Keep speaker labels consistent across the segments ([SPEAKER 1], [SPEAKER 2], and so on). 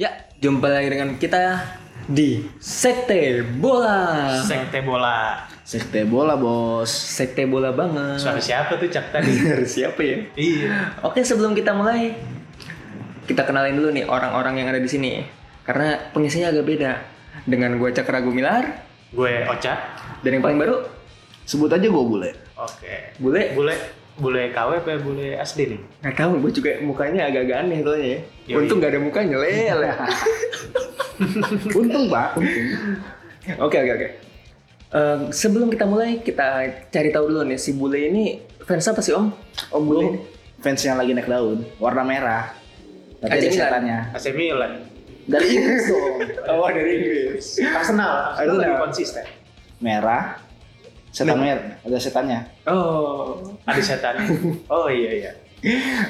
[SPEAKER 1] Ya, jumpa lagi dengan kita di Sekte Bola.
[SPEAKER 2] Sekte bola.
[SPEAKER 3] Sekte bola bos.
[SPEAKER 1] Sekte Bola banget.
[SPEAKER 2] Suara siapa tuh Cak tadi?
[SPEAKER 1] Harus siapa ya?
[SPEAKER 2] iya.
[SPEAKER 1] Oke, sebelum kita mulai, kita kenalin dulu nih orang-orang yang ada di sini. Karena pengisinya agak beda. Dengan gue Cakra Gumilar,
[SPEAKER 2] Gue Oca.
[SPEAKER 1] dan yang paling baru,
[SPEAKER 3] Sebut aja gue bule.
[SPEAKER 2] Oke.
[SPEAKER 1] Bule.
[SPEAKER 2] Bule bule KW apa bule asli nih?
[SPEAKER 1] Gak tau, gue juga mukanya agak-agak aneh soalnya ya.
[SPEAKER 2] Yoi.
[SPEAKER 1] Untung gak ada mukanya, lele.
[SPEAKER 3] Untung pak. Untung.
[SPEAKER 1] Oke, oke, oke. Eh, sebelum kita mulai, kita cari tahu dulu nih, si Bule ini fans apa sih, Om? Om Bule. ini?
[SPEAKER 3] Fans yang lagi naik daun. Warna merah. Tapi
[SPEAKER 1] AC
[SPEAKER 3] ada
[SPEAKER 1] Milan.
[SPEAKER 3] setannya.
[SPEAKER 2] AC Milan.
[SPEAKER 3] Dari Inggris dong.
[SPEAKER 1] Oh, dari Inggris. Arsenal.
[SPEAKER 2] Arsenal. Arsenal lebih konsisten.
[SPEAKER 3] Merah. Setan merah. Ada setannya.
[SPEAKER 1] Oh.
[SPEAKER 2] Ada setan. Oh iya iya.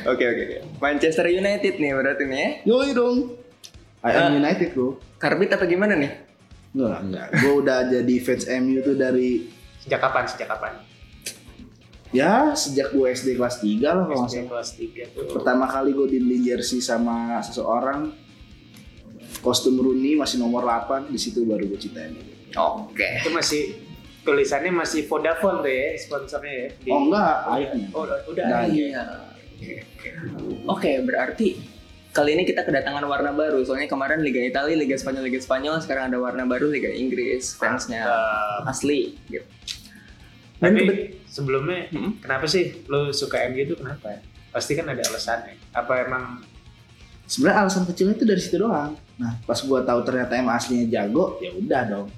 [SPEAKER 1] Oke, oke, oke. Manchester United nih berarti nih ya.
[SPEAKER 3] Yoi dong. I am United bro.
[SPEAKER 1] Karbit apa gimana nih?
[SPEAKER 3] Enggak, enggak. Gue udah jadi fans MU tuh dari
[SPEAKER 2] Sejak kapan? Sejak kapan?
[SPEAKER 3] ya sejak gue SD kelas 3 lah kalau nggak
[SPEAKER 2] SD
[SPEAKER 3] salah.
[SPEAKER 2] kelas 3 tuh.
[SPEAKER 3] Pertama kali gue dibeli jersey sama seseorang kostum Rooney masih nomor 8 di situ baru gue cinta MU.
[SPEAKER 1] Oke.
[SPEAKER 2] Itu masih tulisannya masih Vodafone tuh ya sponsornya ya. Di-
[SPEAKER 3] Oh enggak, ayahnya.
[SPEAKER 2] Oh, udah. udah.
[SPEAKER 3] Nah,
[SPEAKER 1] Iya. Oke, berarti kali ini kita kedatangan warna baru. Soalnya kemarin Liga Italia, Liga Spanyol, Liga Spanyol, sekarang ada warna baru Liga Inggris fansnya
[SPEAKER 2] Eh,
[SPEAKER 1] asli gitu. Dan
[SPEAKER 2] tapi
[SPEAKER 1] kebet-
[SPEAKER 2] sebelumnya
[SPEAKER 1] Hmm?
[SPEAKER 2] kenapa sih lo suka MU itu kenapa? Pasti kan ada alasannya. Apa emang
[SPEAKER 3] Sebenarnya alasan kecilnya itu dari situ doang. Nah, pas gua tahu ternyata emang aslinya jago, ya udah dong.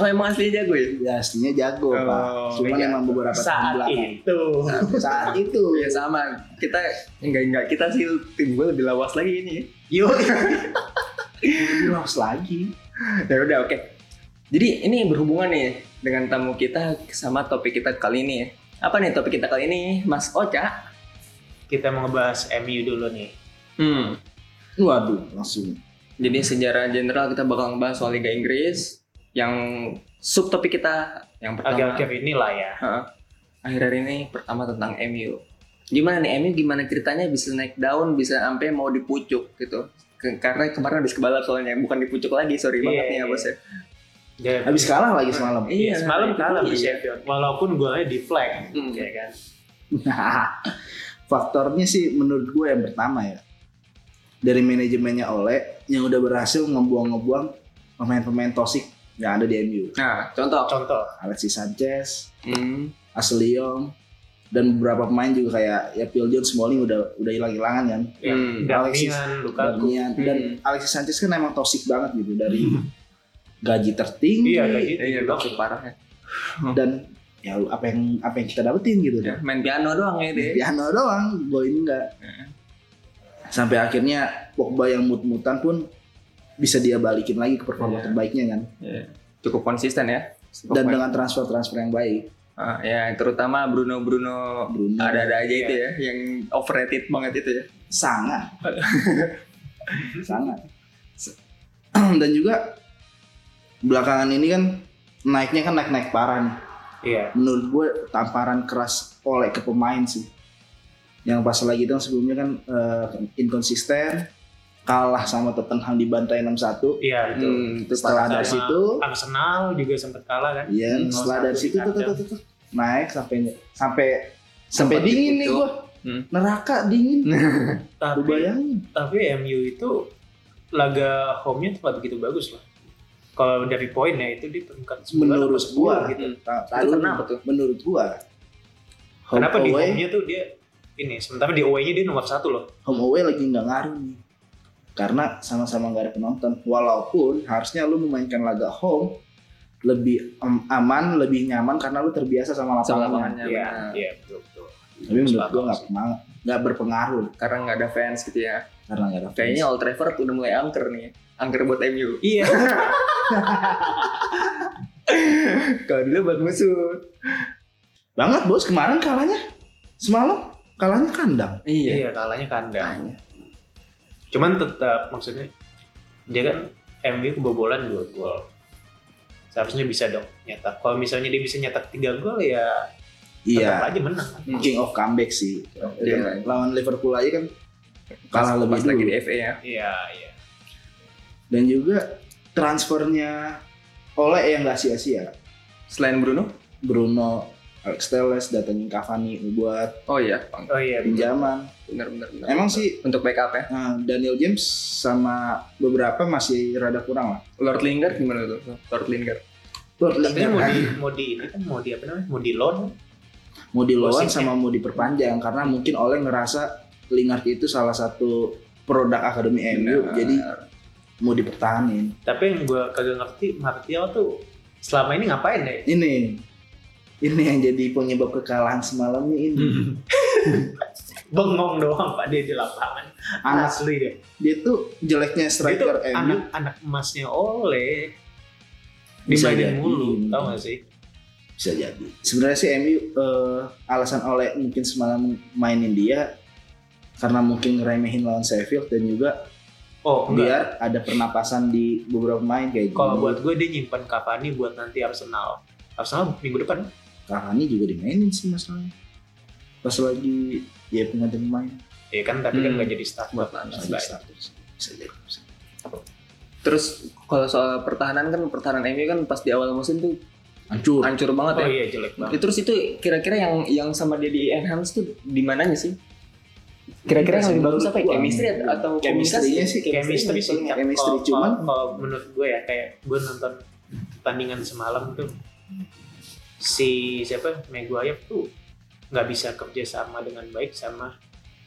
[SPEAKER 1] Oh, emang asli jago ya?
[SPEAKER 3] Ya aslinya jago, Pak.
[SPEAKER 1] Oh,
[SPEAKER 3] Cuman
[SPEAKER 2] iya.
[SPEAKER 3] emang beberapa tahun
[SPEAKER 2] saat
[SPEAKER 3] belakang.
[SPEAKER 2] itu
[SPEAKER 3] Saat itu.
[SPEAKER 1] Ya sama. Kita enggak enggak kita sih tim gue lebih lawas lagi ini. ya.
[SPEAKER 3] Yo. Lost lagi.
[SPEAKER 1] Ya udah oke. Jadi ini berhubungan nih dengan tamu kita sama topik kita kali ini ya. Apa nih topik kita kali ini, Mas Oca?
[SPEAKER 2] kita mau ngebahas MU dulu nih.
[SPEAKER 1] Hmm.
[SPEAKER 3] Waduh, langsung.
[SPEAKER 1] Jadi sejarah general kita bakal ngebahas soal Liga Inggris yang subtopik kita yang pertama
[SPEAKER 2] Akhir-akhir ini lah ya.
[SPEAKER 1] Heeh. akhir-akhir ini pertama tentang MU. Gimana nih MU gimana ceritanya bisa naik daun bisa sampai mau dipucuk gitu. Ke- karena kemarin habis kebalap soalnya bukan dipucuk lagi sorry
[SPEAKER 2] Iya,
[SPEAKER 1] banget nih ya
[SPEAKER 2] iya.
[SPEAKER 1] bos ya.
[SPEAKER 2] Dia-
[SPEAKER 3] Habis kalah lagi semalam.
[SPEAKER 2] Iya, semalam
[SPEAKER 1] itu
[SPEAKER 2] kalah di
[SPEAKER 1] dia.
[SPEAKER 2] Sheffield. Walaupun golnya di flag,
[SPEAKER 1] Hmm.
[SPEAKER 2] ya kan.
[SPEAKER 3] Faktornya sih menurut gue yang pertama ya. Dari manajemennya Oleh yang udah berhasil ngebuang-ngebuang pemain-pemain toksik yang ada di MU.
[SPEAKER 1] Nah, contoh.
[SPEAKER 2] Contoh,
[SPEAKER 3] Alexis Sanchez,
[SPEAKER 1] Hmm.
[SPEAKER 3] Asliom dan beberapa pemain juga kayak ya Phil Jones, Smalling udah udah hilang-hilangan kan.
[SPEAKER 2] ya,
[SPEAKER 1] Hmm.
[SPEAKER 3] Alexis,
[SPEAKER 2] Darmian,
[SPEAKER 3] Dan,
[SPEAKER 2] Lukaku.
[SPEAKER 3] Kan, hmm. dan Alexis Sanchez kan emang toksik banget gitu dari gaji tertinggi
[SPEAKER 2] Iya, gaji
[SPEAKER 1] Iya,
[SPEAKER 2] itu.
[SPEAKER 1] maksud parahnya.
[SPEAKER 3] dan ya apa yang apa yang kita dapetin gitu.
[SPEAKER 2] Iya.
[SPEAKER 1] Ya, main piano doang ya deh.
[SPEAKER 3] piano doang gue ini enggak
[SPEAKER 2] Iya.
[SPEAKER 3] sampai akhnya Pogba yang mut-mutan pun bisa dia balikin lagi ke performa
[SPEAKER 1] Iya.
[SPEAKER 3] terbaiknya kan
[SPEAKER 1] Cukup konsisten ya.
[SPEAKER 3] dan dengan transfer-transfer yang baik
[SPEAKER 1] Ah, ya terutama Bruno Bruno
[SPEAKER 3] Bruno
[SPEAKER 1] ada-ada aja
[SPEAKER 2] Iya.
[SPEAKER 1] itu ya yang overrated banget itu ya.
[SPEAKER 3] sangat sangat Se- dan juga belakangan ini kan naiknya kan naik-naik parah nih
[SPEAKER 2] Iya.
[SPEAKER 3] menurut gue tamparan keras oleh ke pemain sih yang pas lagi itu yang sebelumnya kan eh, inkonsisten kalah sama Tottenham dibantai 6-1
[SPEAKER 2] Iya, itu.
[SPEAKER 1] Hmm, terus
[SPEAKER 3] setelah
[SPEAKER 2] Sama
[SPEAKER 3] dari situ
[SPEAKER 2] Arsenal juga sempat kalah kan.
[SPEAKER 3] iya
[SPEAKER 1] Hmm,
[SPEAKER 3] setelah dari
[SPEAKER 2] satu
[SPEAKER 3] situ tuh, tuh,
[SPEAKER 2] dikandang.
[SPEAKER 3] tuh, tuh, tuh. naik sampai sampai sampai
[SPEAKER 1] Sempat
[SPEAKER 3] dingin nih
[SPEAKER 1] dipucuk.
[SPEAKER 3] gua
[SPEAKER 1] Hmm.
[SPEAKER 3] neraka dingin lu
[SPEAKER 2] Tapi
[SPEAKER 3] bayangin
[SPEAKER 2] tapi MU itu laga home-nya tempat begitu bagus lah. Kalau dari poin ya itu di peringkat 9
[SPEAKER 3] Menurut gua.
[SPEAKER 2] gitu.
[SPEAKER 3] Ta-
[SPEAKER 1] Itu kenapa tuh?
[SPEAKER 3] menurut gua home
[SPEAKER 2] Kenapa di
[SPEAKER 3] away
[SPEAKER 2] home-nya tuh dia ini, sementara di away-nya dia nomor satu loh.
[SPEAKER 3] home away lagi nggak ngaruh nih karena sama-sama nggak ada penonton walaupun harusnya lu memainkan laga home lebih em, aman lebih nyaman karena lu terbiasa sama
[SPEAKER 1] Sama
[SPEAKER 3] lapangan
[SPEAKER 1] lapangannya.
[SPEAKER 2] Iya,
[SPEAKER 1] benar.
[SPEAKER 2] iya betul betul.
[SPEAKER 3] Ya, tapi menurut gua
[SPEAKER 2] Sepakat
[SPEAKER 3] nggak
[SPEAKER 2] sih.
[SPEAKER 3] pema- nggak berpengaruh
[SPEAKER 1] Karena nggak ada fans gitu ya.
[SPEAKER 3] karena nggak ada fans.
[SPEAKER 1] Kayaknya Old Trafford udah mulai angker nih. ya. Angker buat MU.
[SPEAKER 2] Iya,
[SPEAKER 1] Kalau dulu buat musuh.
[SPEAKER 3] banget bos kemarin kalahnya semalam kalahnya kandang
[SPEAKER 1] Iya.
[SPEAKER 2] iya kalahnya kandang. Cuman tetap maksudnya dia kan MU kebobolan dua gol. Seharusnya bisa dong nyetak. Kalau misalnya dia bisa nyetak 3 gol ya tetap
[SPEAKER 3] Iya,
[SPEAKER 2] aja menang. kan.
[SPEAKER 3] king of comeback sih.
[SPEAKER 1] Iya.
[SPEAKER 3] Kan Lawan Liverpool aja kan
[SPEAKER 1] Pas,
[SPEAKER 3] kalah lebih
[SPEAKER 1] pas
[SPEAKER 3] dulu.
[SPEAKER 1] lagi di FA ya.
[SPEAKER 2] Iya, iya.
[SPEAKER 3] Dan juga transfernya oleh yang nggak sia-sia.
[SPEAKER 1] Selain Bruno?
[SPEAKER 3] Bruno, Alex Telles datengin Cavani buat
[SPEAKER 1] Oh iya, Bang.
[SPEAKER 2] Oh iya,
[SPEAKER 3] pinjaman.
[SPEAKER 1] benar benar benar.
[SPEAKER 3] Emang sih
[SPEAKER 1] untuk backup ya.
[SPEAKER 3] eh, Daniel James sama beberapa masih rada kurang lah.
[SPEAKER 1] Lord Lingard gimana tuh? Lord Lingard.
[SPEAKER 3] Lord
[SPEAKER 2] Katanya
[SPEAKER 3] Lingard
[SPEAKER 2] mau
[SPEAKER 3] kan
[SPEAKER 2] di mau di ini kan mau di apa namanya? Mau di loan.
[SPEAKER 3] mau dilawan
[SPEAKER 2] Posisinya.
[SPEAKER 3] sama mau diperpanjang karena mungkin oleh ngerasa Lingard itu salah satu produk akademi MU.
[SPEAKER 1] Benar.
[SPEAKER 3] Jadi mau dipertahanin.
[SPEAKER 2] Tapi yang gue kagak ngerti Martial tuh selama ini ngapain ya?
[SPEAKER 3] Ini ini yang jadi penyebab kekalahan semalam ini.
[SPEAKER 2] Bengong doang pak dia di lapangan.
[SPEAKER 3] Anak
[SPEAKER 2] Asli deh.
[SPEAKER 3] dia tuh jeleknya
[SPEAKER 2] Itu
[SPEAKER 3] striker MU.
[SPEAKER 2] anak-anak emasnya oleh
[SPEAKER 3] Bisa
[SPEAKER 2] dimainin
[SPEAKER 3] jadi.
[SPEAKER 2] mulu, tau gak sih?
[SPEAKER 3] Bisa jadi. Sebenarnya sih MU eh, alasan oleh mungkin semalam mainin dia karena mungkin ngeremehin lawan Sheffield dan juga
[SPEAKER 2] Oh enggak.
[SPEAKER 3] biar ada pernapasan di beberapa pemain kayak
[SPEAKER 2] Kalau
[SPEAKER 3] gitu.
[SPEAKER 2] buat gue dia nyimpan Cavani buat nanti Arsenal. Arsenal minggu depan.
[SPEAKER 3] Cavani juga dimainin sih masalahnya. Pas lagi ya pengganti pemain
[SPEAKER 2] Ya kan tapi kan
[SPEAKER 1] Hmm.
[SPEAKER 2] nggak jadi start
[SPEAKER 3] buat
[SPEAKER 2] buat
[SPEAKER 3] Lana
[SPEAKER 2] Bisa.
[SPEAKER 3] status. Bisa jadi. bisa jadi.
[SPEAKER 1] Terus kalau soal pertahanan kan pertahanan MU kan pas di awal musim tuh
[SPEAKER 3] Hancur.
[SPEAKER 1] hancur banget ya.
[SPEAKER 2] Oh iya jelek banget.
[SPEAKER 1] Eh, Terus itu kira-kira yang yang sama dia di enhance tuh di mananya sih? Kira-kira yang lebih bagus apa ya? Chemistry atau
[SPEAKER 3] Chemistry-nya sih,
[SPEAKER 2] Chemistry sih. ya.
[SPEAKER 3] Chemistry, chemistry,
[SPEAKER 2] Kalau-
[SPEAKER 3] cuman-
[SPEAKER 2] kalau kalau menurut gue ya kayak gue nonton pertandingan semalam tuh si siapa Maguire tuh nggak bisa kerja sama dengan baik sama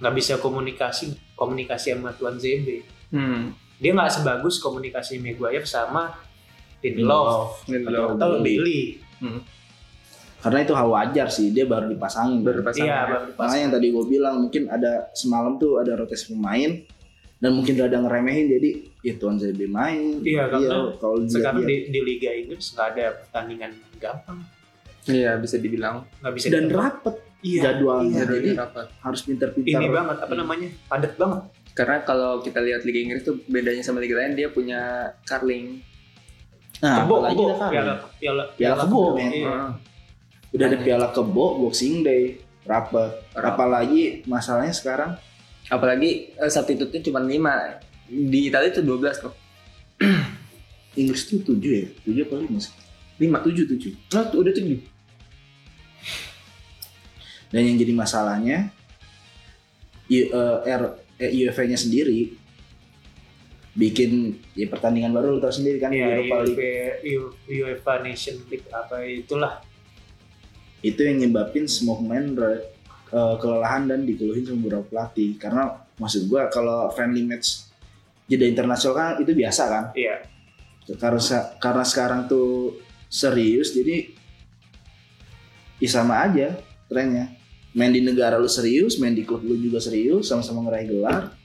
[SPEAKER 2] nggak bisa komunikasi komunikasi sama Tuan Zembe.
[SPEAKER 1] Hmm.
[SPEAKER 2] Dia nggak sebagus komunikasi Maguire sama Lindelof
[SPEAKER 1] Lindelof.
[SPEAKER 2] atau
[SPEAKER 3] Bailey.
[SPEAKER 2] Bailey.
[SPEAKER 3] Karena itu hal wajar sih, dia baru dipasangin.
[SPEAKER 1] Baru dipasangin.
[SPEAKER 2] Iya,
[SPEAKER 1] Pasangan.
[SPEAKER 2] baru pas.
[SPEAKER 3] Makanya Nah, yang tadi gue bilang mungkin ada semalam tuh ada rotasi pemain dan mungkin ada ngeremehin jadi ya Tuan ZB main.
[SPEAKER 2] Iya, karena
[SPEAKER 3] kalau dia, iya.
[SPEAKER 2] Sekarang
[SPEAKER 3] dia.
[SPEAKER 2] di, di Liga Inggris nggak ada pertandingan gampang,
[SPEAKER 1] Iya, bisa dibilang.
[SPEAKER 2] nggak bisa.
[SPEAKER 3] dan
[SPEAKER 2] ditebak.
[SPEAKER 3] rapet
[SPEAKER 2] Iya,
[SPEAKER 3] jadwalnya.
[SPEAKER 2] iya.
[SPEAKER 3] jadi
[SPEAKER 1] Jadwalnya rapat.
[SPEAKER 3] harus
[SPEAKER 2] ini
[SPEAKER 3] pintar-pintar.
[SPEAKER 2] banget apa namanya padat banget.
[SPEAKER 1] Karena kalau kita lihat Liga Inggris tuh bedanya sama Liga lain dia punya Carling.
[SPEAKER 3] Nah,
[SPEAKER 2] Kebo,
[SPEAKER 3] apalagi
[SPEAKER 2] kebo,
[SPEAKER 3] udah kan.
[SPEAKER 2] piala, piala,
[SPEAKER 3] Piala kebo, men.
[SPEAKER 2] Iya.
[SPEAKER 1] Heeh.
[SPEAKER 3] Udah ada piala kebo, boxing day, rapet.
[SPEAKER 1] Rapat.
[SPEAKER 3] Apalagi masalahnya sekarang
[SPEAKER 1] Apalagi eh, substitute-nya cuma 5. Di Italia itu 12 loh.
[SPEAKER 3] Inggris tuh 7 ya, 7 apa 5 sih?
[SPEAKER 1] 5.
[SPEAKER 3] 7, 7.
[SPEAKER 1] Nah, udah 7.
[SPEAKER 3] Dan yang jadi masalahnya I- eh, R- eh, UEFA-nya sendiri bikin ya pertandingan baru lo tau sendiri kan
[SPEAKER 2] Iya,
[SPEAKER 3] Europa League.
[SPEAKER 2] UEFA UEFA Nation League apa itulah.
[SPEAKER 3] itu yang nyebabin semua pemain re- eh, kelelahan dan dikeluhin sama beberapa pelatih karena maksud gua kalau friendly match jeda internasional kan itu biasa kan
[SPEAKER 2] Iya.
[SPEAKER 3] karena se- karena sekarang tuh serius jadi ya sama aja trennya main di negara lu serius main di klub lu juga serius sama-sama ngeraih gelar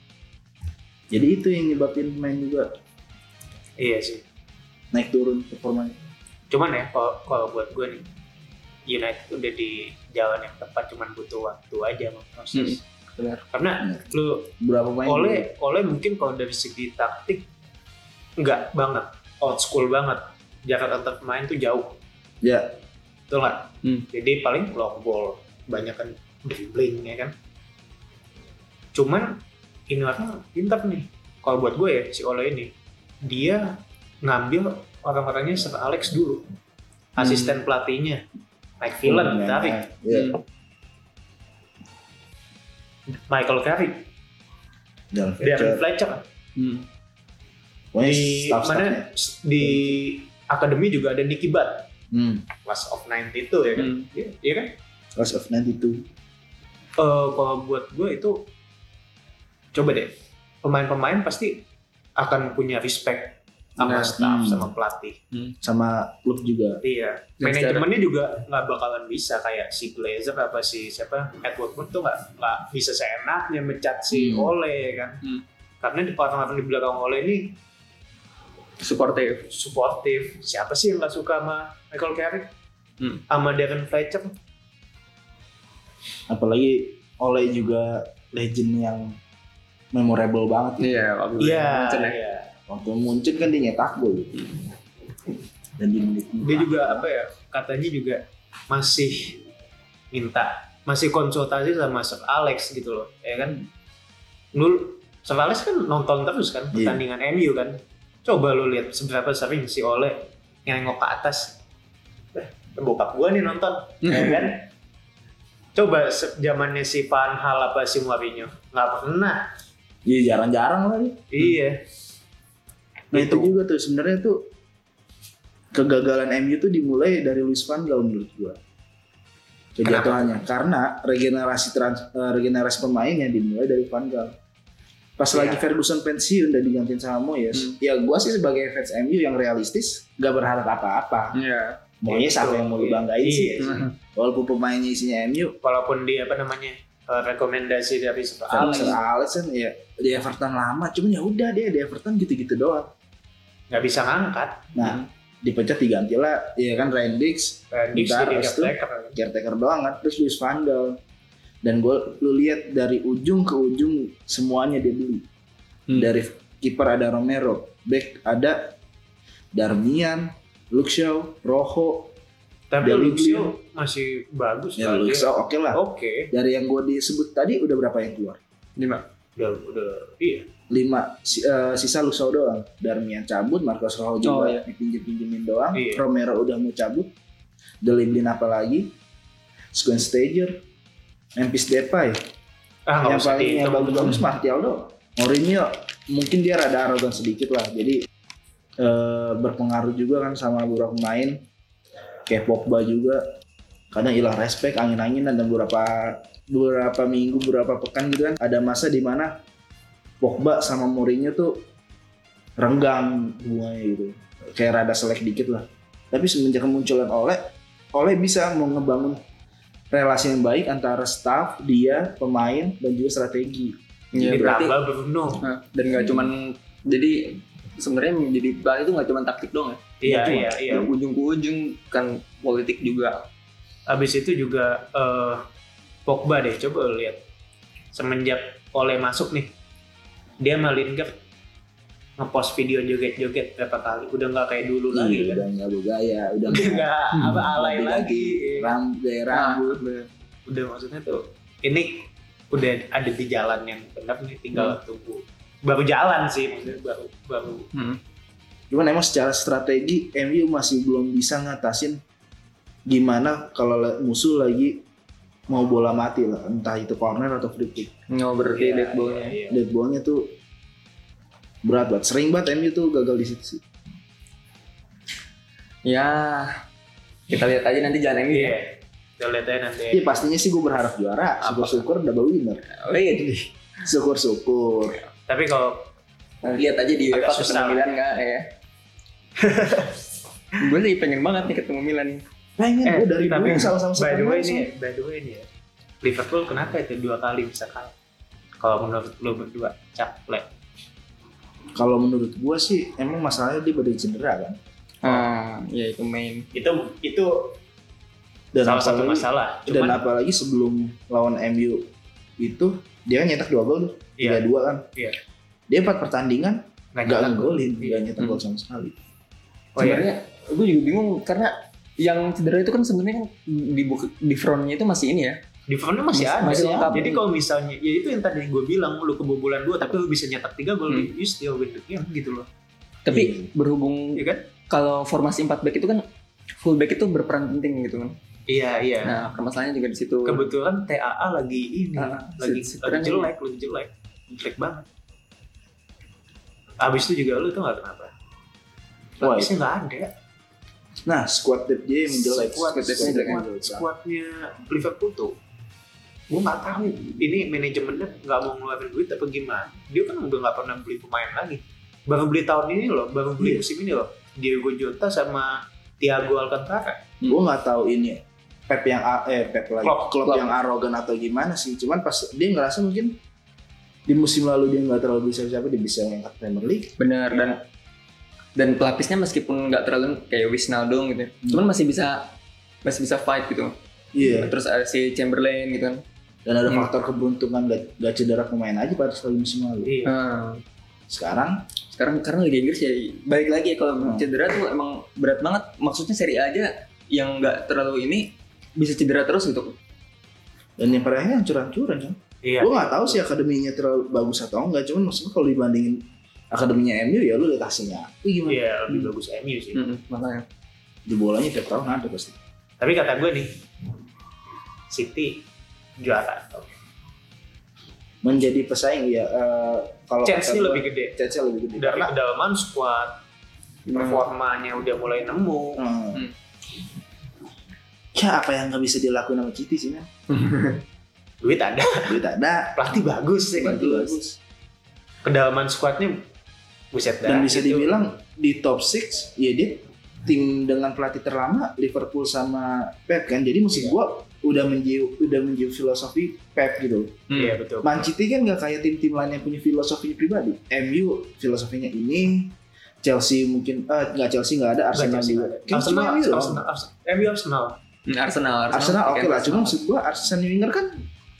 [SPEAKER 3] jadi itu yang nyebabin main juga
[SPEAKER 2] Iya sih.
[SPEAKER 3] naik turun performanya
[SPEAKER 2] Cuman ya kalau kalau buat gue nih United udah di jalan yang tepat cuman butuh waktu aja sama proses.
[SPEAKER 1] benar.
[SPEAKER 2] Karena
[SPEAKER 3] Hmm, Benar.
[SPEAKER 2] lu
[SPEAKER 3] berapa pemain juga.
[SPEAKER 2] oleh oleh mungkin kalau dari segi taktik enggak banget old school banget jarak antar pemain tuh jauh
[SPEAKER 3] ya
[SPEAKER 2] betul nggak
[SPEAKER 1] Hmm.
[SPEAKER 2] jadi paling long ball banyak kan dribbling ya kan cuman ini orang pintar nih kalau buat gue ya si Ole ini dia ngambil orang-orangnya Sir Alex dulu asisten pelatihnya Mike Villan
[SPEAKER 3] pemain-
[SPEAKER 2] tarik
[SPEAKER 3] ya
[SPEAKER 1] Hmm.
[SPEAKER 2] Michael Carrick Darren
[SPEAKER 3] dan Fletcher
[SPEAKER 2] Fletcher
[SPEAKER 1] Hmm.
[SPEAKER 3] pokoknya
[SPEAKER 2] di
[SPEAKER 3] staff-staffnya.
[SPEAKER 2] mana s- di akademi juga ada Nicky Butt
[SPEAKER 3] hmm.
[SPEAKER 2] class of 90 itu ya kan
[SPEAKER 1] Hmm.
[SPEAKER 2] Iya, iya kan
[SPEAKER 3] class of 92
[SPEAKER 2] Eh, kalau buat gue itu coba deh pemain-pemain pasti akan punya respect sama
[SPEAKER 1] Nah,
[SPEAKER 2] staff
[SPEAKER 3] hmm.
[SPEAKER 2] sama pelatih
[SPEAKER 3] sama klub juga
[SPEAKER 2] iya
[SPEAKER 1] Dan
[SPEAKER 2] manajemennya juga nggak bakalan bisa kayak si Glazer apa si siapa Edward Moon tuh nggak nggak bisa seenaknya mecat si
[SPEAKER 3] Hmm.
[SPEAKER 2] Ole kan
[SPEAKER 1] Hmm.
[SPEAKER 2] karena di orang-orang di belakang Ole ini
[SPEAKER 1] Supportive.
[SPEAKER 2] supportive. Siapa sih yang nggak suka sama Michael Carrick?
[SPEAKER 1] Hmm.
[SPEAKER 2] Sama Darren Fletcher?
[SPEAKER 3] apalagi oleh juga legend yang memorable banget
[SPEAKER 1] Iya, waktu itu.
[SPEAKER 2] Iya.
[SPEAKER 1] Munchen ya.
[SPEAKER 2] iya.
[SPEAKER 3] waktu Munchen kan dia nyetak gol dan di menit
[SPEAKER 2] dia juga apa ya katanya juga masih minta masih konsultasi sama Sir Alex gitu loh ya kan lu Sir Alex kan nonton terus kan
[SPEAKER 3] Iya.
[SPEAKER 2] pertandingan MU kan coba lu lihat seberapa sering si Ole nengok ke atas eh, bokap gua nih nonton
[SPEAKER 1] Hmm.
[SPEAKER 2] ya kan coba se- zamannya si Van Hal apa si Mourinho nggak pernah
[SPEAKER 3] Iya jarang-jarang lah dia.
[SPEAKER 2] iya
[SPEAKER 3] Nah itu
[SPEAKER 2] Gitu.
[SPEAKER 3] juga tuh sebenarnya tuh kegagalan MU tuh dimulai dari Luis Van Gaal menurut gua. Kejatuhannya karena regenerasi trans- eh, regenerasi pemainnya dimulai dari Van Gaal. Pas
[SPEAKER 2] Iya. Hmm.
[SPEAKER 3] lagi Ferguson pensiun dan digantiin sama Moyes, ya gua sih sebagai fans MU yang realistis gak berharap apa-apa.
[SPEAKER 1] Iya.
[SPEAKER 3] Moyes apa yang mau dibanggain sih?
[SPEAKER 2] Iya.
[SPEAKER 3] Walaupun pemainnya isinya MU,
[SPEAKER 2] walaupun dia apa namanya eh, rekomendasi dari Sir Alex
[SPEAKER 3] Ferguson Alex kan ya di Everton lama, cuman ya udah dia di Everton gitu-gitu doang.
[SPEAKER 2] nggak bisa ngangkat Hmm.
[SPEAKER 3] Nah, dipecat diganti lah, ya kan Ryan Giggs
[SPEAKER 2] Eh, Gibbs
[SPEAKER 3] Bentar,
[SPEAKER 2] jadi
[SPEAKER 3] habis itu-
[SPEAKER 2] caretaker
[SPEAKER 3] caretaker doang kan terus Luis Van Gaal dan gue lu lihat dari ujung ke ujung semuanya dia beli dari kiper ada Romero back ada Darmian Luxio Rojo
[SPEAKER 2] tapi
[SPEAKER 3] Dari
[SPEAKER 2] Luxio
[SPEAKER 3] Luxio.
[SPEAKER 2] masih bagus
[SPEAKER 3] ya
[SPEAKER 2] lah dia.
[SPEAKER 3] Luxio oke lah
[SPEAKER 2] oke
[SPEAKER 3] dari yang gue disebut tadi udah berapa yang keluar
[SPEAKER 1] Lima.
[SPEAKER 2] udah udah iya
[SPEAKER 3] lima si- eh, sisa Luxio doang Darmian cabut Marcos
[SPEAKER 1] Oh,
[SPEAKER 3] Rojo juga
[SPEAKER 1] iya.
[SPEAKER 3] dipinjam pinjemin doang
[SPEAKER 2] Iya.
[SPEAKER 3] Romero udah mau cabut Delimlin apa lagi Squint Stager Memphis Depay
[SPEAKER 2] ah nggak
[SPEAKER 3] yang
[SPEAKER 2] usah
[SPEAKER 3] paling yang
[SPEAKER 2] dihitung
[SPEAKER 3] bagus-bagus Martial doang. Mourinho mungkin dia rada arogan sedikit lah. Jadi eh, berpengaruh juga kan sama beberapa pemain. Kayak Pogba juga kadang hilang respect angin-anginan dan beberapa beberapa minggu beberapa pekan gitu kan ada masa di mana Pogba sama Mourinho tuh renggang hubungannya gitu kayak rada selek dikit lah tapi semenjak kemunculan Oleh Oleh bisa mau ngebangun relasi yang baik antara staff dia pemain dan juga strategi
[SPEAKER 1] Iya, berarti
[SPEAKER 2] ditambah Bruno
[SPEAKER 1] Nah, dan nggak cuman jadi sebenarnya menjadi bahan itu nggak cuman taktik doang ya.
[SPEAKER 2] iya
[SPEAKER 1] Nggak
[SPEAKER 2] iya
[SPEAKER 1] cuma.
[SPEAKER 2] iya
[SPEAKER 1] Dari ujung ke ujung kan politik juga.
[SPEAKER 2] abis itu juga eh, Pogba deh coba lu lihat semenjak oleh masuk nih dia sama Lingard ngepost video joget-joget berapa kali udah nggak kayak dulu lagi
[SPEAKER 3] Iya,
[SPEAKER 2] kan
[SPEAKER 3] udah nggak bergaya udah
[SPEAKER 2] udah
[SPEAKER 3] nggak
[SPEAKER 2] nggak apa alay
[SPEAKER 3] lebih
[SPEAKER 2] lagi
[SPEAKER 3] ram- gaya
[SPEAKER 2] Nah,
[SPEAKER 1] Nah,
[SPEAKER 3] rambut
[SPEAKER 2] udah maksudnya tuh ini udah ada di jalan yang benar nih tinggal tunggu baru jalan sih maksudnya baru baru
[SPEAKER 1] Hmm.
[SPEAKER 3] cuman emang secara strategi MU masih belum bisa ngatasin gimana kalau la- musuh lagi mau bola mati lah entah itu corner atau free kick
[SPEAKER 1] Nggak berarti
[SPEAKER 2] Iya,
[SPEAKER 1] dead ball-nya.
[SPEAKER 2] iya, iya.
[SPEAKER 3] dead ball-nya tuh berat banget sering banget MU tuh gagal di situ sih
[SPEAKER 1] Ya, kita lihat aja nanti jalan MU
[SPEAKER 2] Iya.
[SPEAKER 1] ya.
[SPEAKER 2] Kita lihat aja nanti
[SPEAKER 3] Iya pastinya sih gue berharap juara
[SPEAKER 1] Apa?
[SPEAKER 3] syukur-syukur double winner
[SPEAKER 1] Oh iya, jadi
[SPEAKER 3] syukur-syukur
[SPEAKER 2] tapi kalau
[SPEAKER 1] lihat aja di UEFA
[SPEAKER 2] Agak susah.
[SPEAKER 1] ketemu Milan nggak ya. gue sih pengen banget nih ketemu Milan.
[SPEAKER 3] pengen
[SPEAKER 2] Eh,
[SPEAKER 3] gue Nah, dari
[SPEAKER 2] tapi-
[SPEAKER 3] dulu sama-sama
[SPEAKER 2] by the
[SPEAKER 3] sama
[SPEAKER 2] way
[SPEAKER 3] langsung.
[SPEAKER 2] nih by the way nih ya, Liverpool kenapa itu dua kali bisa kalah kalau menurut lu berdua cap le
[SPEAKER 3] kalau menurut gue sih emang masalahnya dia badan cedera kan
[SPEAKER 2] Oh.
[SPEAKER 1] Ah, ya itu main.
[SPEAKER 2] itu itu
[SPEAKER 3] dan
[SPEAKER 2] salah satu
[SPEAKER 3] apalagi-
[SPEAKER 2] masalah
[SPEAKER 3] dan
[SPEAKER 2] cuman
[SPEAKER 3] apalagi sebelum lawan MU itu dia kan nyetak dua gol tuh
[SPEAKER 2] iya
[SPEAKER 3] tiga dua kan
[SPEAKER 2] Iya.
[SPEAKER 3] dia empat pertandingan
[SPEAKER 2] nggak
[SPEAKER 3] nggak
[SPEAKER 2] jalan
[SPEAKER 3] ngegolin
[SPEAKER 2] Iya.
[SPEAKER 3] nggak nyetak gol sama sekali
[SPEAKER 2] Oh, iya.
[SPEAKER 1] sebenarnya gue juga bingung karena yang cedera itu kan sebenarnya kan di buk- di frontnya itu masih ini ya.
[SPEAKER 2] di front masih,
[SPEAKER 1] Masih-
[SPEAKER 2] ada
[SPEAKER 1] masih lengkap.
[SPEAKER 2] jadi kalau misalnya ya itu yang tadi gue bilang lu kebobolan dua tapi lu bisa nyetak tiga gol
[SPEAKER 1] Hmm.
[SPEAKER 2] you still win the game gitu loh
[SPEAKER 1] Tapi
[SPEAKER 3] Iya.
[SPEAKER 1] berhubung
[SPEAKER 2] Iya kan?
[SPEAKER 1] kalau formasi 4 back itu kan full back itu berperan penting gitu kan.
[SPEAKER 2] iya iya
[SPEAKER 1] Nah, permasalahannya juga di situ.
[SPEAKER 2] kebetulan TAA lagi ini
[SPEAKER 1] Ah,
[SPEAKER 2] lagi
[SPEAKER 1] se- sekarang
[SPEAKER 2] lagi jelek lagi jelek jelek banget abis itu juga lu tuh nggak kenapa
[SPEAKER 3] Why?
[SPEAKER 2] Lapisnya nggak ada
[SPEAKER 3] nah squad depth dia yang jelek
[SPEAKER 2] squad
[SPEAKER 1] Squad depth-nya
[SPEAKER 3] depth-nya
[SPEAKER 1] jelek.
[SPEAKER 3] yang jelek.
[SPEAKER 2] squadnya Liverpool tuh gue nggak tahu ini manajemennya nggak mau ngeluarin duit apa gimana dia kan udah nggak pernah beli pemain lagi baru beli tahun ini loh baru beli
[SPEAKER 3] Iya.
[SPEAKER 2] musim ini loh Diego Jota sama Thiago Alcantara
[SPEAKER 3] gue nggak tahu ini Pep yang a- eh Pep lagi
[SPEAKER 2] Klopp,
[SPEAKER 3] Klopp,
[SPEAKER 1] Klopp.
[SPEAKER 3] yang arogan atau gimana sih cuman pas dia ngerasa mungkin di musim lalu dia nggak terlalu bisa siapa dia bisa ngangkat Premier League
[SPEAKER 1] Bener dan
[SPEAKER 2] Iya.
[SPEAKER 1] dan pelapisnya meskipun nggak terlalu kayak Wisnaldum gitu,
[SPEAKER 2] Hmm.
[SPEAKER 1] cuman masih bisa masih bisa fight gitu.
[SPEAKER 3] iya
[SPEAKER 1] Terus ada si Chamberlain gitu kan.
[SPEAKER 3] dan ada
[SPEAKER 1] Hmm.
[SPEAKER 3] faktor keberuntungan gak, gak cedera pemain aja pada sekali musim lalu
[SPEAKER 2] Iya.
[SPEAKER 1] Ah,
[SPEAKER 3] Sekarang
[SPEAKER 1] sekarang karena Liga Inggris jadi balik lagi ya kalau
[SPEAKER 3] Hmm.
[SPEAKER 1] cedera tuh emang berat banget maksudnya seri A aja yang nggak terlalu ini bisa cedera terus gitu
[SPEAKER 3] dan yang perakhir hancur-hancuran kan.
[SPEAKER 2] Iya.
[SPEAKER 1] Oh.
[SPEAKER 3] Gue nggak tahu sih akademinya terlalu bagus atau enggak, cuman maksudnya kalau dibandingin akademinya MU ya lu lihat hasilnya. Wih, gimana?
[SPEAKER 2] Iya, lebih
[SPEAKER 3] Hmm.
[SPEAKER 2] bagus MU sih.
[SPEAKER 1] Mm-mm, makanya
[SPEAKER 3] Di bolanya tiap tahun ada pasti.
[SPEAKER 2] Tapi kata gue nih, City juara.
[SPEAKER 3] Menjadi pesaing ya eh, kalau
[SPEAKER 2] Chance-nya
[SPEAKER 3] kata gua,
[SPEAKER 2] lebih gede.
[SPEAKER 3] chance-nya lebih gede.
[SPEAKER 2] Dari kedalaman squad, performanya udah mulai nemu.
[SPEAKER 3] Hmm.
[SPEAKER 1] Hmm.
[SPEAKER 3] Ya apa yang nggak bisa dilakuin sama Citi sih, Nah?
[SPEAKER 2] Duit ada,
[SPEAKER 3] Duit ada, kan?
[SPEAKER 2] pelatih bagus sih.
[SPEAKER 3] pelatih bagus.
[SPEAKER 2] Kedalaman squadnya buset dah.
[SPEAKER 3] Dan bisa
[SPEAKER 2] Itu
[SPEAKER 3] dibilang di top 6 ya dia tim dengan pelatih terlama Liverpool sama Pep kan. Jadi
[SPEAKER 2] Iya.
[SPEAKER 3] maksud gua udah menjiu udah menjiu filosofi Pep gitu.
[SPEAKER 2] Iya, betul.
[SPEAKER 3] Man City kan nggak kayak tim-tim lain yang punya filosofinya pribadi. MU filosofinya ini, Chelsea mungkin eh nggak Chelsea nggak ada Arsenal
[SPEAKER 2] Chelsea
[SPEAKER 3] juga.
[SPEAKER 2] nggak ada.
[SPEAKER 3] Kan cuma
[SPEAKER 2] Arsenal,
[SPEAKER 3] MU
[SPEAKER 2] Arsenal,
[SPEAKER 3] doang.
[SPEAKER 2] Arsenal, Arsenal. MU Arsenal.
[SPEAKER 1] Hmm, Arsenal
[SPEAKER 3] Arsenal oke
[SPEAKER 1] kan,
[SPEAKER 3] lah, cuma maksud gua Arsenal Wenger kan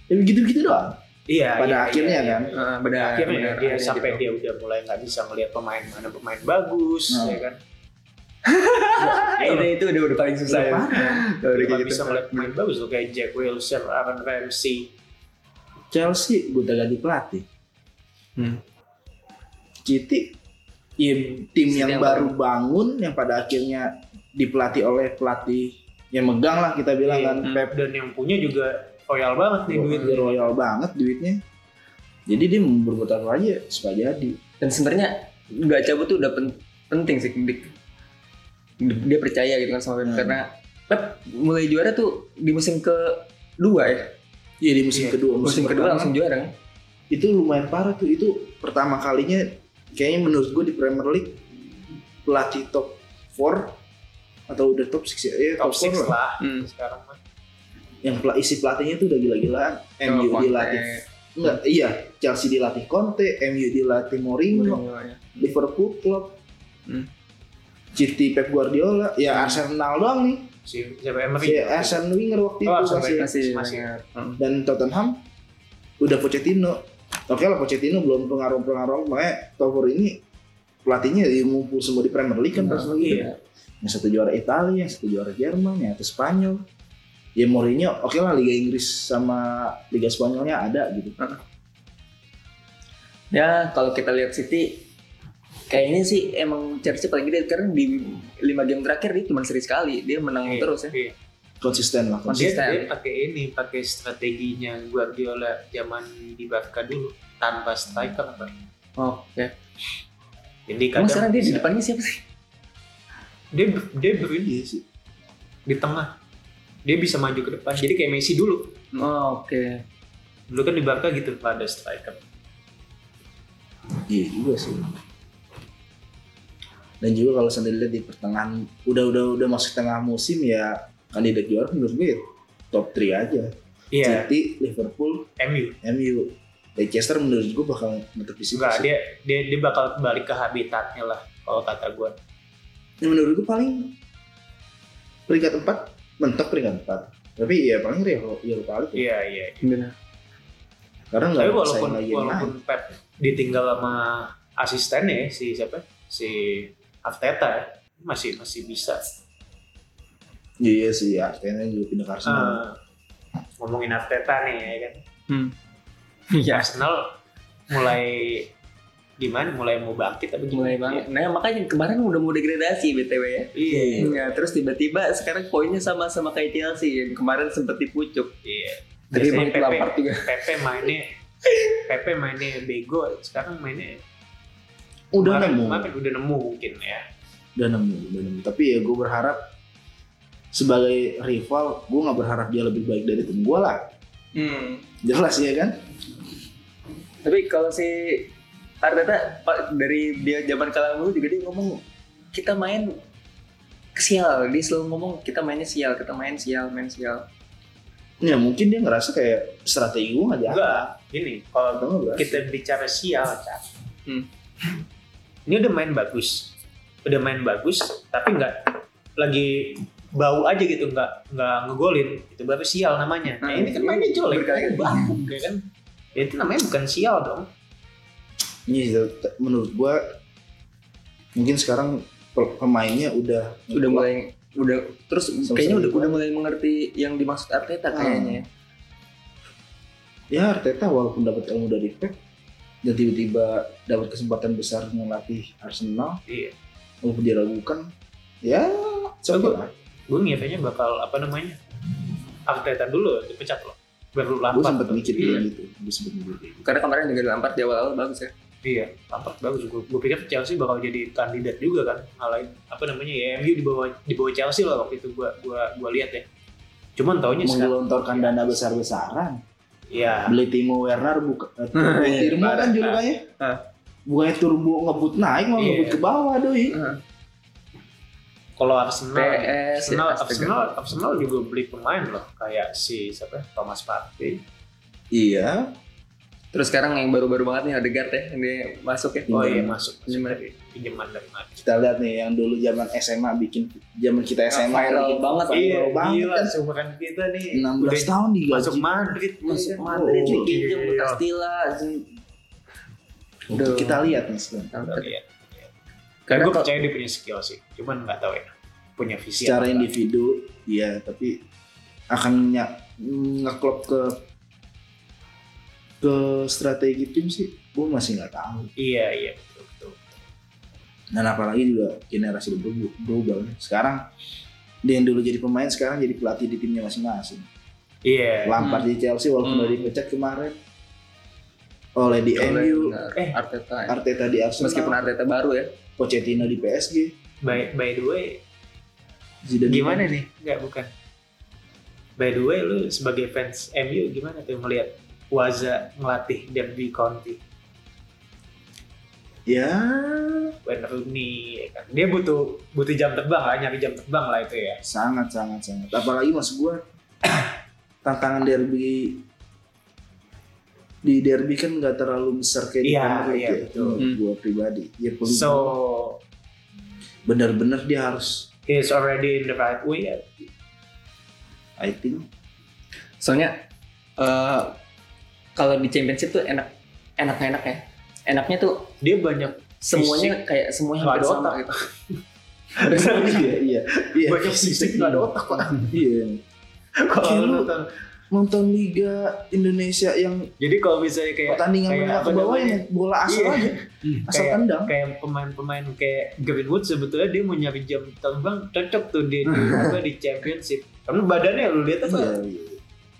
[SPEAKER 3] ya gitu-gitu doang.
[SPEAKER 2] Iya.
[SPEAKER 3] Pada
[SPEAKER 2] iya,
[SPEAKER 3] akhirnya
[SPEAKER 2] iya,
[SPEAKER 3] kan.
[SPEAKER 2] iya.
[SPEAKER 1] Eh, benar,
[SPEAKER 2] akhirnya
[SPEAKER 1] benar,
[SPEAKER 2] dia
[SPEAKER 1] akhirnya
[SPEAKER 2] sampai
[SPEAKER 1] gitu.
[SPEAKER 2] dia udah mulai nggak bisa ngelihat pemain mana pemain bagus,
[SPEAKER 3] Nah.
[SPEAKER 2] ya kan.
[SPEAKER 1] Ya,
[SPEAKER 2] Iya.
[SPEAKER 1] itu itu udah udah paling susah ya. Udah, udah
[SPEAKER 2] Nggak
[SPEAKER 1] kayak
[SPEAKER 2] Iya.
[SPEAKER 1] gitu.
[SPEAKER 2] bisa ngelihat pemain bagus tuh kayak Jack Wilshere, Aaron Ramsey.
[SPEAKER 3] Chelsea udah ganti pelatih.
[SPEAKER 1] Hmm.
[SPEAKER 3] City ya, tim
[SPEAKER 1] City
[SPEAKER 3] yang,
[SPEAKER 1] yang
[SPEAKER 3] baru bangun yang pada akhirnya dipelatih oleh pelatih yang megang lah kita bilang
[SPEAKER 2] Iya.
[SPEAKER 3] kan
[SPEAKER 1] Hmm.
[SPEAKER 3] Pep
[SPEAKER 2] dan yang punya juga royal banget nih duit
[SPEAKER 3] duit royal banget duitnya. Jadi dia berputar aja supaya jadi.
[SPEAKER 1] Dan sebenarnya nggak cabut tuh udah pen- penting sih Dik. Dia percaya gitu kan sama Pep
[SPEAKER 3] Hmm.
[SPEAKER 1] karena Pep mulai juara tuh di musim kedua ya.
[SPEAKER 3] Ya di musim
[SPEAKER 2] Iya.
[SPEAKER 3] kedua
[SPEAKER 1] Musim, kedua
[SPEAKER 3] pertama,
[SPEAKER 1] langsung juara kan.
[SPEAKER 3] itu lumayan parah tuh itu pertama kalinya kayaknya menurut gue di Premier League pelatih top 4 atau udah top 6 ya, Iya,
[SPEAKER 2] top
[SPEAKER 3] four
[SPEAKER 2] 6
[SPEAKER 3] lah.
[SPEAKER 2] lah
[SPEAKER 1] Hmm.
[SPEAKER 2] sekarang mah.
[SPEAKER 3] yang pela- isi pelatihnya tuh udah gila-gilaan MU
[SPEAKER 1] Conte,
[SPEAKER 3] dilatih enggak iya Chelsea dilatih Conte MU dilatih Mourinho
[SPEAKER 1] Mourinho ya.
[SPEAKER 3] Liverpool Klopp
[SPEAKER 1] Hmm.
[SPEAKER 3] City Pep Guardiola ya
[SPEAKER 1] Hmm.
[SPEAKER 3] Arsenal doang nih
[SPEAKER 2] Si siapa Emery?
[SPEAKER 3] si Arsene Wenger waktu
[SPEAKER 2] Oh,
[SPEAKER 3] itu
[SPEAKER 2] Arsene
[SPEAKER 3] Iya, masih
[SPEAKER 2] Wenger.
[SPEAKER 1] Masih
[SPEAKER 2] Masih.
[SPEAKER 1] masih. Hmm.
[SPEAKER 3] dan Tottenham udah Pochettino oke lah Pochettino belum pengaruh-pengaruh makanya Tower ini pelatihnya ya ngumpul semua di Premier League kan
[SPEAKER 1] Nah,
[SPEAKER 3] pas lagi
[SPEAKER 2] iya.
[SPEAKER 3] yang satu juara Italia yang satu juara Jerman yang satu Spanyol ya Mourinho oke lah Liga Inggris sama Liga Spanyolnya ada gitu
[SPEAKER 1] Ya kalau kita lihat City kayaknya sih emang Chelsea paling gede karena di lima game terakhir dia cuma seri sekali dia menang
[SPEAKER 2] Iya,
[SPEAKER 1] terus ya.
[SPEAKER 2] iya.
[SPEAKER 3] konsisten lah
[SPEAKER 2] Dia,
[SPEAKER 1] Konsisten.
[SPEAKER 2] dia pakai ini, pakai strateginya Guardiola zaman di Barca dulu tanpa striker. Bang.
[SPEAKER 1] Oh ya.
[SPEAKER 2] Jadi kadang iya.
[SPEAKER 1] Emang sekarang dia di
[SPEAKER 2] bisa-
[SPEAKER 1] depannya siapa sih?
[SPEAKER 2] dia dia berdiri
[SPEAKER 3] Iya sih.
[SPEAKER 2] di tengah. Dia bisa maju ke depan. Jadi kayak Messi dulu.
[SPEAKER 1] Oh, Oke.
[SPEAKER 2] Dulu kan di Barca gitu nggak ada striker.
[SPEAKER 3] Iya juga sih. Dan juga kalau sendiri di pertengahan udah udah udah masuk tengah musim ya kandidat juara menurut gue ya top 3 aja.
[SPEAKER 2] Iya,
[SPEAKER 3] City, Liverpool,
[SPEAKER 2] MU.
[SPEAKER 3] MU. Leicester menurut gue bakal tetap di situ.
[SPEAKER 2] Enggak,
[SPEAKER 3] sih.
[SPEAKER 2] dia, dia dia bakal balik ke habitatnya lah kalau kata gue.
[SPEAKER 3] Ya, menurut gue paling peringkat 4 mentok peringkat 4 tapi ya paling Rio Europa League
[SPEAKER 2] Iya,
[SPEAKER 3] ya.
[SPEAKER 2] iya.
[SPEAKER 1] Benar.
[SPEAKER 3] karena nggak
[SPEAKER 2] Tapi
[SPEAKER 3] ada
[SPEAKER 2] walaupun
[SPEAKER 3] saing lagi yang
[SPEAKER 2] walaupun
[SPEAKER 3] lain.
[SPEAKER 2] Pep ditinggal sama asistennya ya, si siapa? Si Arteta ya. masih masih bisa.
[SPEAKER 3] Iya iya sih Arteta juga pindah ke Arsenal.
[SPEAKER 2] Eh, ngomongin Arteta nih ya kan.
[SPEAKER 1] Hmm. Iya.
[SPEAKER 2] Ya, Arsenal mulai gimana? Mulai mau bangkit tapi
[SPEAKER 1] Mulai banget. Nah makanya kemarin udah mau degradasi btw ya.
[SPEAKER 2] Iya.
[SPEAKER 1] Iya. Terus tiba-tiba sekarang poinnya sama-sama kayak Chelsea yang kemarin sempet dipucuk.
[SPEAKER 2] Iya.
[SPEAKER 1] Dari
[SPEAKER 2] Biasanya
[SPEAKER 1] menit
[SPEAKER 2] Pepe-
[SPEAKER 1] Lampard juga.
[SPEAKER 2] Pepe mainnya Pepe mainnya bego, sekarang mainnya
[SPEAKER 3] udah
[SPEAKER 2] kemarin-
[SPEAKER 3] nemu.
[SPEAKER 2] kemarin udah nemu mungkin ya.
[SPEAKER 3] udah nemu, udah nemu. Tapi ya gue berharap sebagai rival, gue nggak berharap dia lebih baik dari tim gue lah.
[SPEAKER 1] Hmm.
[SPEAKER 3] Jelas ya kan?
[SPEAKER 1] Tapi kalau si Arteta pa- dari dia zaman kalah dulu juga dia ngomong kita main sial dia selalu ngomong kita mainnya sial kita main sial main sial
[SPEAKER 3] Ya mungkin dia ngerasa kayak strategi gue nggak jalan.
[SPEAKER 2] Enggak, gini, kalau
[SPEAKER 3] Atau nggak Iya, berhasil.
[SPEAKER 2] kita bicara sial, Cak.
[SPEAKER 1] Hmm.
[SPEAKER 2] Ini udah main bagus, udah main bagus, tapi nggak lagi bau aja gitu, nggak nggak ngegolin. Itu berarti sial namanya. Nah,
[SPEAKER 1] Hmm.
[SPEAKER 2] ini kan mainnya jelek,
[SPEAKER 1] Berkali-kali.
[SPEAKER 2] bau, ya kan? Ya, itu namanya bukan sial dong.
[SPEAKER 3] Ini sih, t- iya. menurut gua mungkin sekarang pe- pemainnya udah
[SPEAKER 1] udah mulai udah terus
[SPEAKER 3] Sama-sama
[SPEAKER 1] kayaknya udah
[SPEAKER 3] gitu.
[SPEAKER 1] udah mulai mengerti yang dimaksud Arteta
[SPEAKER 3] Ah.
[SPEAKER 1] kayaknya ya.
[SPEAKER 3] ya Arteta walaupun dapat ilmu dari Pep dan tiba-tiba dapat kesempatan besar melatih Arsenal
[SPEAKER 2] Iya.
[SPEAKER 3] walaupun dia ragukan ya
[SPEAKER 2] Aku-
[SPEAKER 3] coba
[SPEAKER 2] Gue ngiranya bakal apa namanya? Arteta dulu dipecat loh. Baru
[SPEAKER 3] gue
[SPEAKER 2] Lampard.
[SPEAKER 3] sempat
[SPEAKER 2] Iya.
[SPEAKER 3] mikir kayak gitu gue sempat mikir kayak gitu
[SPEAKER 1] Karena kemarin juga Lampard di awal-awal bagus ya.
[SPEAKER 2] Iya, Lampard bagus. Gue, gue pikir Chelsea bakal jadi kandidat juga kan, ngalahin apa namanya ya MU di bawah di bawah Chelsea lah waktu itu gue gue gue lihat ya. Cuman taunya sekarang,
[SPEAKER 3] menggelontorkan dana
[SPEAKER 2] Iya.
[SPEAKER 3] besar-besaran
[SPEAKER 2] ya
[SPEAKER 3] beli Timo Werner buka eh, Timo
[SPEAKER 1] Iya,
[SPEAKER 3] Tirmo kan
[SPEAKER 2] parah. Ah.
[SPEAKER 3] julukannya
[SPEAKER 1] Hah.
[SPEAKER 3] bukannya turbo ngebut naik malah
[SPEAKER 2] Iya.
[SPEAKER 3] ngebut ke bawah doi
[SPEAKER 2] kalau Arsenal,
[SPEAKER 1] PS, Astaga.
[SPEAKER 2] Arsenal, ya? Arsenal, Arsenal juga beli pemain loh, kayak si siapa ya, Thomas Partey.
[SPEAKER 3] iya
[SPEAKER 1] Terus sekarang yang baru-baru banget nih Odegaard ya ini masuk ya.
[SPEAKER 3] Pinjaman.
[SPEAKER 2] Oh iya masuk, masuk
[SPEAKER 1] Pinjaman.
[SPEAKER 3] Oh,
[SPEAKER 2] dari pinjaman dari mana?
[SPEAKER 3] kita lihat nih yang dulu zaman SMA bikin zaman kita SMA
[SPEAKER 1] viral
[SPEAKER 3] bikin-
[SPEAKER 1] banget.
[SPEAKER 3] viral
[SPEAKER 2] Iya,
[SPEAKER 3] banget
[SPEAKER 2] gila
[SPEAKER 3] kan.
[SPEAKER 2] seumuran kita nih.
[SPEAKER 3] 16 tahun
[SPEAKER 2] Udah
[SPEAKER 3] digaji
[SPEAKER 2] masuk Madrid,
[SPEAKER 1] Masuk
[SPEAKER 3] Oh,
[SPEAKER 1] Madrid
[SPEAKER 3] iya.
[SPEAKER 1] dipinjam ke Castilla. Aduh.
[SPEAKER 3] kita lihat nih sekarang.
[SPEAKER 2] Iya. Karena
[SPEAKER 1] Karena
[SPEAKER 2] gue
[SPEAKER 1] kalau-
[SPEAKER 2] percaya dia punya skill sih, cuman nggak tahu ya punya visi. apa
[SPEAKER 3] secara
[SPEAKER 2] nggak.
[SPEAKER 3] individu iya tapi akan nyak ngeklop ke ke strategi tim sih gue masih nggak tahu
[SPEAKER 2] Iya iya betul betul.
[SPEAKER 3] dan apalagi juga generasi udah berubah, berubah kan. sekarang dia yang dulu jadi pemain sekarang jadi pelatih di timnya masing-masing
[SPEAKER 2] Iya.
[SPEAKER 3] Lampard di Chelsea walaupun
[SPEAKER 1] Eh, Hmm.
[SPEAKER 3] udah dipecat kemarin oleh di
[SPEAKER 1] Oleh,
[SPEAKER 3] MU
[SPEAKER 1] benar.
[SPEAKER 2] eh,
[SPEAKER 1] Arteta. ya.
[SPEAKER 3] Arteta di Arsenal
[SPEAKER 1] Meskipun Arteta baru ya.
[SPEAKER 3] Pochettino di PSG
[SPEAKER 2] By, by the way,
[SPEAKER 3] Zidane di
[SPEAKER 2] gimana nih? Nggak bukan. By the way, lu sebagai fans MU gimana tuh melihat Waza ngelatih Derby County?
[SPEAKER 3] ya
[SPEAKER 2] Wayne Rooney, ya kan? Dia butuh butuh jam terbang lah, nyari jam terbang lah itu ya.
[SPEAKER 3] sangat sangat sangat apalagi mas gue tantangan derby di derby kan nggak terlalu besar kayak
[SPEAKER 2] Iya,
[SPEAKER 3] di Premier League
[SPEAKER 2] iya,
[SPEAKER 3] ya.
[SPEAKER 2] betul.
[SPEAKER 3] Itu gue pribadi ya perlu
[SPEAKER 2] So
[SPEAKER 3] bener-bener dia harus
[SPEAKER 2] he's already in the right way. ya.
[SPEAKER 3] I think
[SPEAKER 1] Soalnya eh, kalau di Championship tuh enak enak-enak ya. Enaknya tuh
[SPEAKER 2] Dia banyak
[SPEAKER 1] semuanya kayak semuanya
[SPEAKER 2] Nggak
[SPEAKER 1] hampir
[SPEAKER 2] ada
[SPEAKER 1] sama
[SPEAKER 2] otak.
[SPEAKER 1] gitu.
[SPEAKER 3] iya iya iya
[SPEAKER 2] banyak fisik nggak ada otak lah.
[SPEAKER 3] iya
[SPEAKER 2] Kalau lu
[SPEAKER 3] Kayak
[SPEAKER 2] nonton-
[SPEAKER 3] nonton Liga Indonesia yang
[SPEAKER 2] jadi kalau misalnya kayak
[SPEAKER 3] pertandingan
[SPEAKER 2] kayak
[SPEAKER 3] menengah
[SPEAKER 2] apa
[SPEAKER 3] ke bawah
[SPEAKER 2] namanya?
[SPEAKER 3] yang bola asal
[SPEAKER 2] Iya.
[SPEAKER 3] aja asal
[SPEAKER 2] Kayak-
[SPEAKER 3] tendang
[SPEAKER 2] kayak pemain-pemain kayak Gavin Wood sebetulnya dia mau nyari jam terbang cocok tuh di, di apa di championship karena badannya lu lihat
[SPEAKER 3] Iya,
[SPEAKER 2] apa
[SPEAKER 3] iya.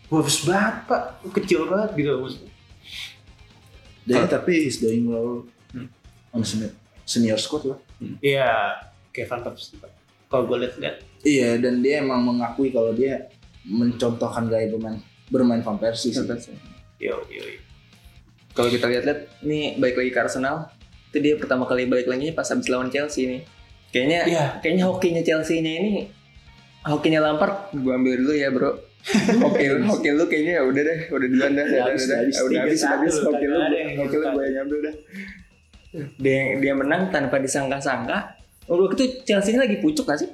[SPEAKER 2] bagus banget pak kecil banget gitu maksudnya
[SPEAKER 3] Dan tapi he's doing well
[SPEAKER 1] Hmm.
[SPEAKER 3] on senior, senior squad lah
[SPEAKER 2] iya Kevin Phelps Pak. kalau gue lihat lihat
[SPEAKER 3] Iya, dan dia emang mengakui kalau dia mencontohkan gaya bermain bermain Van Persie. sih.
[SPEAKER 2] yo yo yo.
[SPEAKER 1] Kalau kita lihat-lihat, nih balik lagi ke Arsenal. Itu dia pertama kali balik lagi pas habis lawan Chelsea nih. Kayaknya
[SPEAKER 2] iya
[SPEAKER 1] kayaknya hokinya Chelsea-nya ini hokinya Lampard gua ambil dulu ya, Bro. Hoki lu, hoki lu kayaknya ya udah deh, udah duluan dah,
[SPEAKER 3] Udah
[SPEAKER 1] udah
[SPEAKER 3] habis,
[SPEAKER 1] habis, udah habis,
[SPEAKER 3] udah
[SPEAKER 1] udah habis,
[SPEAKER 2] habis.
[SPEAKER 1] udah habis,
[SPEAKER 2] Tiga satu,
[SPEAKER 1] hoki lu,
[SPEAKER 2] kagak ada yang
[SPEAKER 1] hoki lu
[SPEAKER 2] gitu
[SPEAKER 1] gue yang ambil dah. Dia dia menang tanpa disangka-sangka. Oh, Waktu itu Chelsea lagi pucuk gak sih?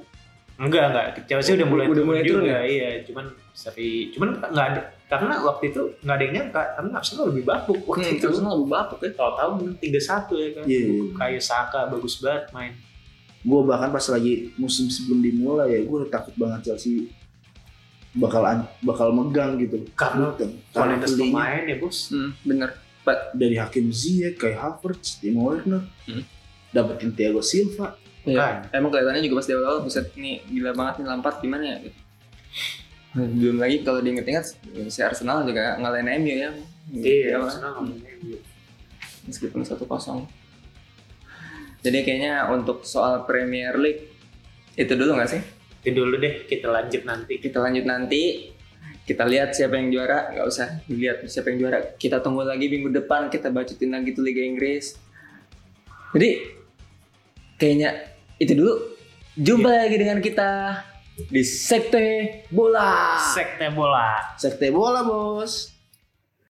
[SPEAKER 2] enggak enggak Chelsea udah mulai
[SPEAKER 1] Udah mulai turun
[SPEAKER 2] juga iya cuman tapi cuman nggak ada karena waktu itu nggak ada yang nyangka karena Arsenal lebih bapuk waktu
[SPEAKER 1] Hmm,
[SPEAKER 2] itu
[SPEAKER 1] Arsenal lebih bapuk ya.
[SPEAKER 2] tahu-tahu tiga satu ya kan
[SPEAKER 3] Iya, iya.
[SPEAKER 2] kayak Saka bagus banget main
[SPEAKER 3] Gue bahkan pas lagi musim sebelum dimulai ya, gue takut banget Chelsea bakal an- bakal megang gitu.
[SPEAKER 2] Karena
[SPEAKER 3] Gitu. Karena
[SPEAKER 2] kualitas
[SPEAKER 3] belinya
[SPEAKER 2] pemain ya bos
[SPEAKER 1] Hmm, bener.
[SPEAKER 3] dari Hakim Ziyech, Kai Havertz, Timo Werner,
[SPEAKER 1] Hmm.
[SPEAKER 3] dapetin Thiago Silva.
[SPEAKER 2] Kan.
[SPEAKER 1] Iya. Emang kelihatannya juga pas di awal-awal buset nih gila banget nih Lampard gimana ya gitu. Nah, Belum lagi kalau diinget-inget si Arsenal juga ngalahin MU ya.
[SPEAKER 2] Iya,
[SPEAKER 1] Gila,
[SPEAKER 2] Arsenal ngomongnya gitu.
[SPEAKER 1] Meskipun 1-0. Jadi kayaknya untuk soal Premier League itu dulu nggak sih?
[SPEAKER 2] Itu dulu deh, kita lanjut nanti.
[SPEAKER 1] Kita lanjut nanti. Kita lihat siapa yang juara, nggak usah dilihat siapa yang juara. Kita tunggu lagi minggu depan kita bacotin lagi tuh Liga Inggris. Jadi kayaknya itu dulu. Jumpa lagi dengan kita di Sekte Bola.
[SPEAKER 2] Sekte bola.
[SPEAKER 3] Sekte bola bos.